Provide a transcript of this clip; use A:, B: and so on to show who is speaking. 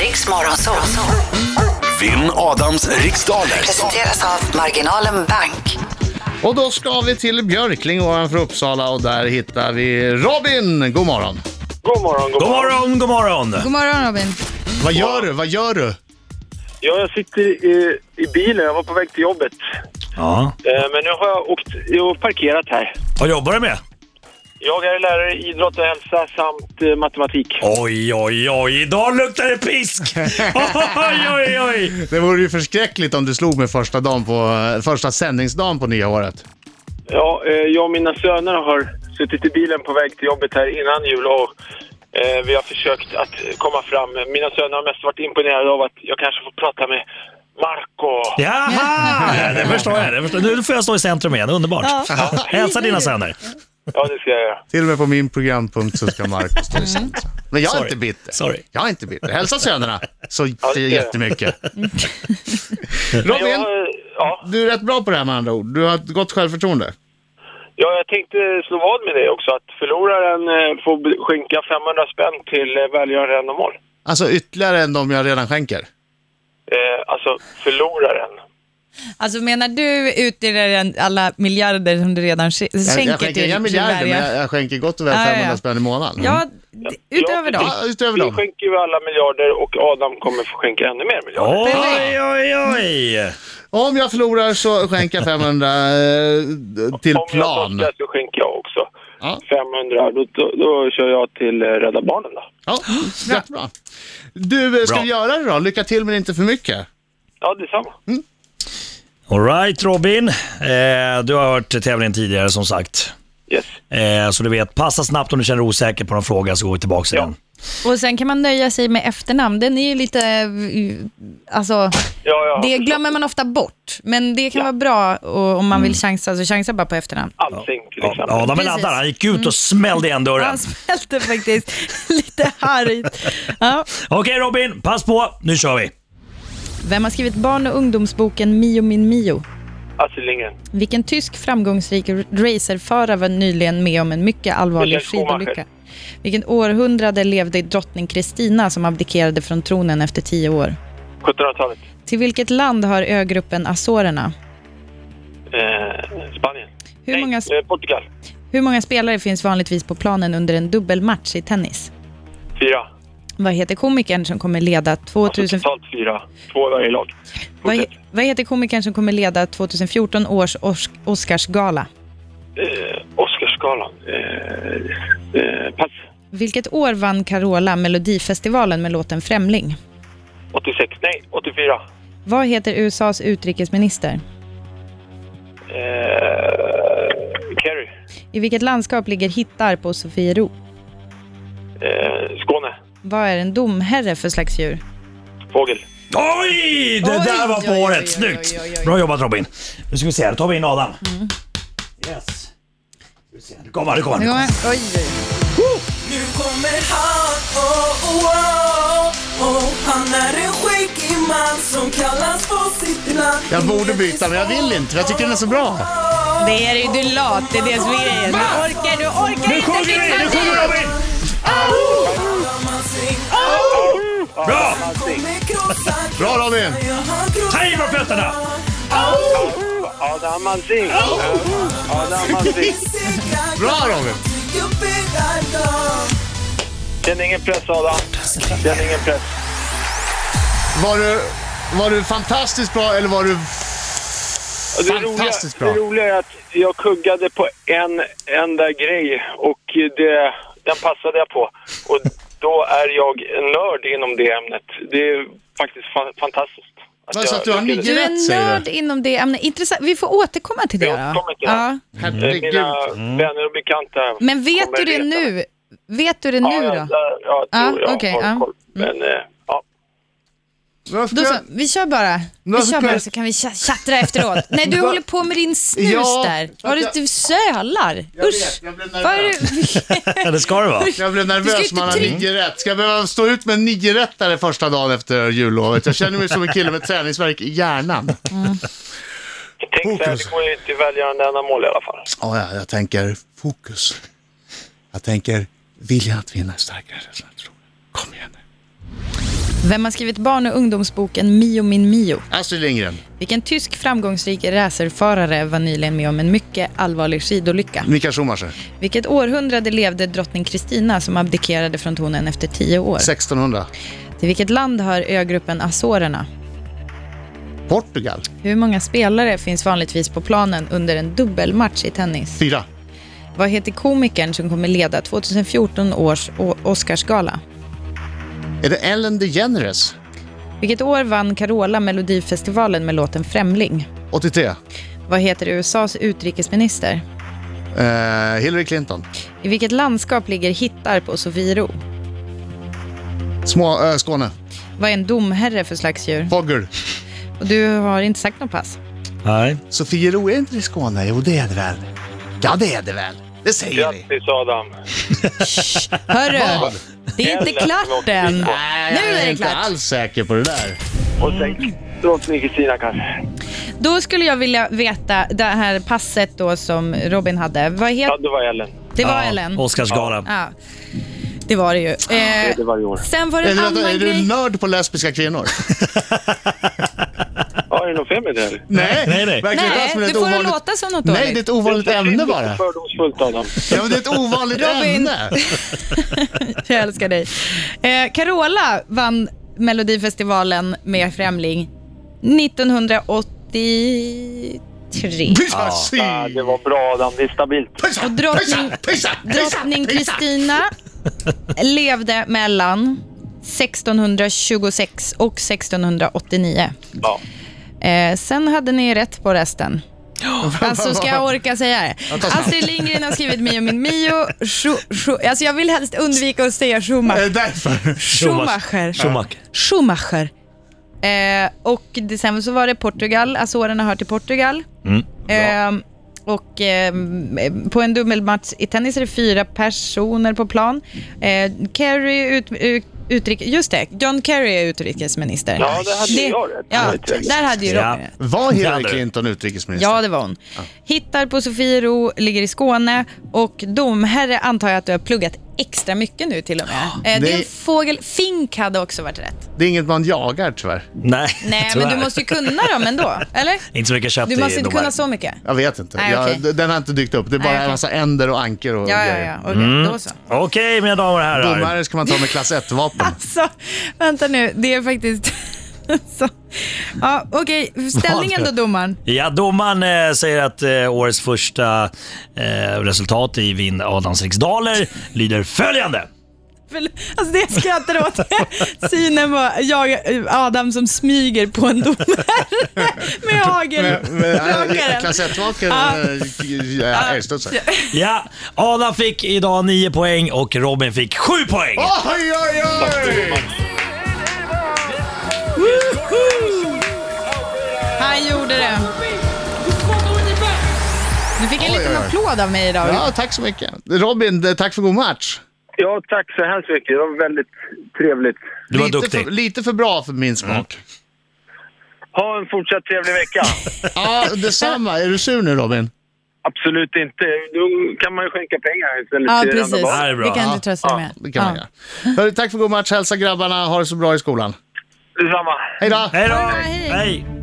A: Riks Morgonzoo.
B: Vinn Adams riksdaler.
A: Presenteras av Marginalen Bank.
C: Och då ska vi till Björkling ovanför Uppsala och där hittar vi Robin. God morgon.
D: God morgon, god
E: God
D: morgon.
E: morgon, god morgon!
F: God morgon Robin.
C: Vad gör du? Vad gör du?
D: Ja, jag sitter i, i bilen. Jag var på väg till jobbet.
E: Ja.
D: Eh, Men nu har jag åkt och parkerat här.
E: Vad jobbar du med?
D: Jag är lärare i idrott och hälsa samt eh, matematik.
E: Oj, oj, oj, idag luktar det pisk! Oj, oj, oj!
C: Det vore ju förskräckligt om du slog mig första, dagen på, första sändningsdagen på nya året.
D: Ja, eh, jag och mina söner har suttit i bilen på väg till jobbet här innan jul och eh, vi har försökt att komma fram. Mina söner har mest varit imponerade av att jag kanske får prata med Marco.
E: Jaha! Ja, det förstår jag. Det förstår. Nu får jag stå i centrum igen, underbart. Hälsa dina söner.
D: Ja, det ska jag göra.
C: Till och med på min programpunkt så ska Marcus stå i centrum. Men jag är
E: Sorry.
C: inte bitter.
E: Sorry.
C: Jag är inte bitter. Hälsa sönerna så
D: ska jag.
C: jättemycket. Robin,
D: Jag, eh, ja,
C: du är rätt bra på det här med andra ord. Du har ett gott självförtroende.
D: ja, jag tänkte slå vad med det också, att förloraren eh, får be- skänka 500 spänn till eh, välgörande ändamål.
C: Alltså ytterligare än de jag redan skänker.
D: Eh, alltså, förloraren.
F: Alltså menar du utdelar den alla miljarder som du redan sk-
C: Jag,
F: skänker
C: jag skänker
F: till
C: inga miljarder, men
F: Sverige?
C: jag, jag skänker gott och väl
F: Ja, ja, ja.
C: 500 spänn i månaden.
F: Ja, d- utöver
D: Ja,
F: dem.
C: Ja, utöver
D: Vi
C: dem.
D: skänker ju alla miljarder och Adam kommer få skänka ännu mer miljarder.
E: Oj, oj, oj!
C: Om jag förlorar så skänker jag 500 eh, till
D: Om jag
C: plan.
D: torskar så skänker jag också.
C: Ja.
D: 500, då, då, då kör jag till eh, Rädda Barnen då.
C: Ja, jättebra. Du, eh, ska
E: Bra.
C: vi göra det då? Lycka till men inte för mycket.
D: Ja, detsamma.
E: Alright Robin, eh, du har hört tävlingen tidigare som sagt.
D: Yes.
E: Eh, så du vet, passa snabbt om du känner dig osäker på någon fråga så går vi tillbaka till
D: Ja.
E: den.
F: Och sen kan man nöja sig med efternamn. Den är ju lite, eh, alltså,
D: Ja, ja.
F: det glömmer man ofta bort. Men det kan vara bra och, om man
C: Mm.
F: vill chansa, så chansa bara på efternamn.
D: Alsing till
E: Ja,
D: exempel.
E: Adam är
F: Precis. Mm.
E: laddad, han gick ut och smällde igen dörren.
F: Han smälte faktiskt lite argt. Ja.
E: Okej Robin, pass på, nu kör vi.
F: Vem har skrivit barn och ungdomsboken Mio min Mio?
D: Astrid Lindgren.
F: Vilken tysk framgångsrik r- racerförare var nyligen med om en mycket allvarlig
D: Michael Schumacher.
F: skidolycka? Vilken århundrade levde drottning Kristina som abdikerade från tronen efter tio år?
D: 1700-talet.
F: Till vilket land hör ögruppen Azorerna?
D: Eh, Spanien.
F: Hur många,
D: Nej, eh, Portugal.
F: hur många spelare finns vanligtvis på planen under en dubbelmatch i tennis?
D: Fyra.
F: Vad heter komikern som kommer leda
D: Alltså
F: 2000...
D: totalt fyra. Två i varje lag.
F: Vad,
D: Fortsätt.
F: he- vad heter komikern som kommer leda 2014 års Ors- Oscarsgala?
D: Eh, Oscarsgalan. Eh, eh, pass.
F: Vilket år vann Carola Melodifestivalen med låten Främling?
D: 86. Nej, 84.
F: Vad heter USAs utrikesminister?
D: Eh, Kerry.
F: I vilket landskap ligger Hittarp och Sofiero?
D: Eh, Skåne.
F: Vad är en domherre för slags djur?
D: Fågel.
E: Oj, det
F: Oj,
E: där var på
F: oj, oj,
E: året.
F: oj,
E: Snyggt!
F: oj, oj, Mm. oj.
E: Bra jobbat Robin. Nu ska vi se, här, då tar vi in Adam. Yes. Ska vi se, Nu kommer han, nu kommer han. nu kommer han.
F: Oj,
G: Nu kommer han, oh, oh, oh, oh. Han är en skäggig man som kallas på sitt namn
C: Jag borde byta, men jag vill inte, för jag tycker den är så bra.
F: Det är ju du lat, det är det som är grejen. Du orkar, du orkar
E: Nu sjunger vi, nu sjunger Robin! Bra!
C: Ah! Bra, Robin.
E: Ta i med fötterna!
D: Adam Alsing. Adam Alsing.
C: Bra Robin!
D: Känn ingen press Adam. Känn ingen press.
C: Var du, var du fantastiskt bra eller var du...
D: Och Det
C: Fantastiskt
D: roliga,
C: bra.
D: Det roliga är att jag kuggade på en enda grej och det, den passade jag på. Och då är jag en nörd inom det ämnet. Det är faktiskt fan, fantastiskt. att
C: Vad, så
D: jag
C: att du har
D: lyckades.
C: nio?
F: Du
C: Rätt,
F: är
C: säger du.
F: nörd inom det ämnet. Intressant. Vi får återkomma till det.
D: Vi
F: då.
D: återkommer till det.
F: ja.
D: Eh,
C: Herregud.
D: Mina
C: Mm.
D: vänner och bekanta.
F: Men vet
D: kommer
F: du det
D: reta mig.
F: nu? Vet du det
D: Ja,
F: nu
D: jag,
F: då?
D: jag, jag
F: Ja,
D: tror jag
F: okej, ah.
D: har
F: ja.
D: koll. Men eh, ja.
C: Varför
F: Då så,
C: jag-
F: vi kör bara. Vi
C: Varför
F: kör
C: kan-
F: bara så kan vi cha- tjattra efteråt. Nej, du
C: Va-
F: håller på med din snus
C: Ja,
F: där. Har du,
C: jag-
F: du sölar.
C: Jag vet,
F: Usch.
C: jag blev
F: Vad är
C: nervös.
F: du-
E: Ja, det ska det vara.
C: Jag blev
F: Du ska
C: nervös
F: inte
C: man har
F: trycka-
C: nio rätt. Ska jag behöva stå ut med nio rättare första dagen efter jullovet? Jag känner mig som en kille med träningsvärk i hjärnan.
D: Tänk så här,
C: Fokus.
D: det går ju till välgörande ändamål i alla fall.
C: Ja, ja, jag tänker fokus. Jag tänker viljan att vinna är starkare än rädslan. att förlora. Kom igen nu.
F: Vem har skrivit barn och ungdomsboken Mio min Mio?
C: Astrid Lindgren.
F: Vilken tysk framgångsrik racerförare var nyligen med om en mycket allvarlig skidolycka?
C: Mikael Schumacher.
F: Vilket århundrade levde drottning Kristina som abdikerade från tronen efter tio år?
C: 1600.
F: Till vilket land hör ögruppen Azorerna?
C: Portugal.
F: Hur många spelare finns vanligtvis på planen under en dubbelmatch i tennis?
C: Fyra.
F: Vad heter komikern som kommer leda 2014 års O- Oscarsgala?
C: Är det Ellen DeGeneres?
F: Vilket år vann Carola Melodifestivalen med låten Främling?
C: 83. Eh,
F: Vad heter USAs utrikesminister?
C: Eh, Hillary Clinton.
F: I vilket landskap ligger Hittarp och Sofiero?
C: Små, eh, Skåne.
F: Vad är en domherre för slags djur?
C: Fogger.
F: Och du har inte sagt något pass.
E: Nej.
C: Sofiero är inte i Skåne? Jo, det är det väl. Ja, det är det väl. Det säger vi.
D: Grattis Adam!
F: Hörru, det är inte klart än.
C: Nej,
F: Nu är
C: jag
F: det
C: är inte
F: klart.
C: alls säker på det där.
D: Och sen drottning Mm. Kristina kanske.
F: Då skulle jag vilja veta det här passet då som Robin hade. Vad
D: Ja,
F: heter
D: det var Ellen.
F: det? var Ellen.
E: Oscarsgala.
F: Ja. Det var det ju. Eh,
D: Det var i år.
F: sen var det
C: Är
F: en
C: du, vänta,
F: annan
C: är du
F: grej.
C: nörd på lesbiska kvinnor?
D: Ja, är det något fel med det eller?
C: nej,
E: Nej, nej.
C: verkligen inte
F: Nej,
C: alls, men
F: nu
C: det är ett
F: får det
C: ovanligt...
F: låta som något
C: Nej, det är
F: dåligt.
C: ett ovanligt ämne bara.
D: Fördomsfullt Adam.
C: Ja, men det är ett ovanligt
F: Robin.
C: ämne.
F: Jag älskar dig. Eh, Carola vann Melodifestivalen med Främling 1983.
C: Pyssasi!
D: Ja, det var bra Adam, det är stabilt.
F: Och drottning,
C: Pyssa!
F: drottning Kristina levde mellan 1626 och 1689.
D: Ja.
F: Eh, sen hade ni rätt på resten. Alltså, ska jag orka säga det?
C: ta snabbt.
F: Astrid Lindgren har skrivit Mio min Mio. Schu, schu, alltså jag vill helst undvika att säga
C: Är det
F: Schumacher.
C: Eh, därför?
F: Schumacher.
E: Schumacher.
F: Schumacher. Eh, och det, sen så var det Portugal, Alltså, Azorerna hör till Portugal. Eh, och eh, på en dubbelmatch i tennis är det fyra personer på plan. Eh, Kerry är ut, ut, utrikes... Just det, John Kerry är utrikesminister.
D: Ja, det hade jag rätt. Det var
F: Ja,
D: ju trevligt.
F: där hade ju
E: Ja.
F: Robin rätt.
C: Var
E: Det
C: Hillary
E: hade du.
C: Clinton utrikesminister?
F: Ja, det var hon. Hittar på Sofiero, ligger i Skåne och domherre antar jag att du har pluggat extra mycket nu till och med. Eh, det är en
C: Nej.
F: fågel. Fink hade också varit rätt.
C: Det är inget man jagar tyvärr.
E: Nej,
F: Nej,
E: tyvärr.
F: men du måste ju kunna dem ändå, eller?
E: Inte så mycket kött
F: Du måste
E: i
F: inte
E: domar.
F: kunna så mycket.
C: Jag vet inte.
F: Nej,
C: jag,
F: okej.
C: d- Den har inte dykt upp. Det är bara
F: Nej, okej.
C: en massa änder och ankor och
F: Ja, ja,
C: grejer. Mm.
F: ja. Okej, då så.
E: Okej, mina damer och herrar.
C: Domare ska man ta med klass 1-vapen.
F: Så, Alltså, vänta nu, det är faktiskt... så. Ja, Okej, ställningen då domaren?
E: Ja, domaren eh, säger att eh, årets första eh, resultat i Vinn Adams riksdaler lyder följande.
F: För- Alltså det jag skrattar åt är synen på jag, Adam som smyger på en domare med hagelbrakaren.
C: Klass 1-vapen
F: Ja.
C: eh, är älgstudsar. Oj,
E: Ja, Adam fick idag 9 poäng och Robin fick 7 poäng.
C: oj, oj!
F: Woho! Han gjorde det. Du fick en
C: Oj,
F: liten
C: oj, oj.
F: applåd av mig idag.
C: Ja, tack så mycket. Robin, eh, tack för god match.
D: Ja, tack så hemskt mycket. Det var väldigt trevligt.
E: Du var
C: lite
E: duktig. Mm.
C: För, lite för bra för min smak.
D: Ha en fortsatt trevlig vecka.
C: Ja, detsamma. Är du sur nu Robin?
D: Absolut inte. Då kan man ju skänka pengar istället.
F: Ja,
D: till det
F: precis.
D: enda barnet.
E: Ja, det är bra.
F: Det kan
E: Ja.
F: du trösta dig med.
C: Det kan man
F: Ja.
C: göra. Hörru, tack för god match. Hälsa grabbarna. Ha det så bra i skolan.
D: Detsamma.
C: Hej då!
E: Hej då!
F: Hej.
E: Hej!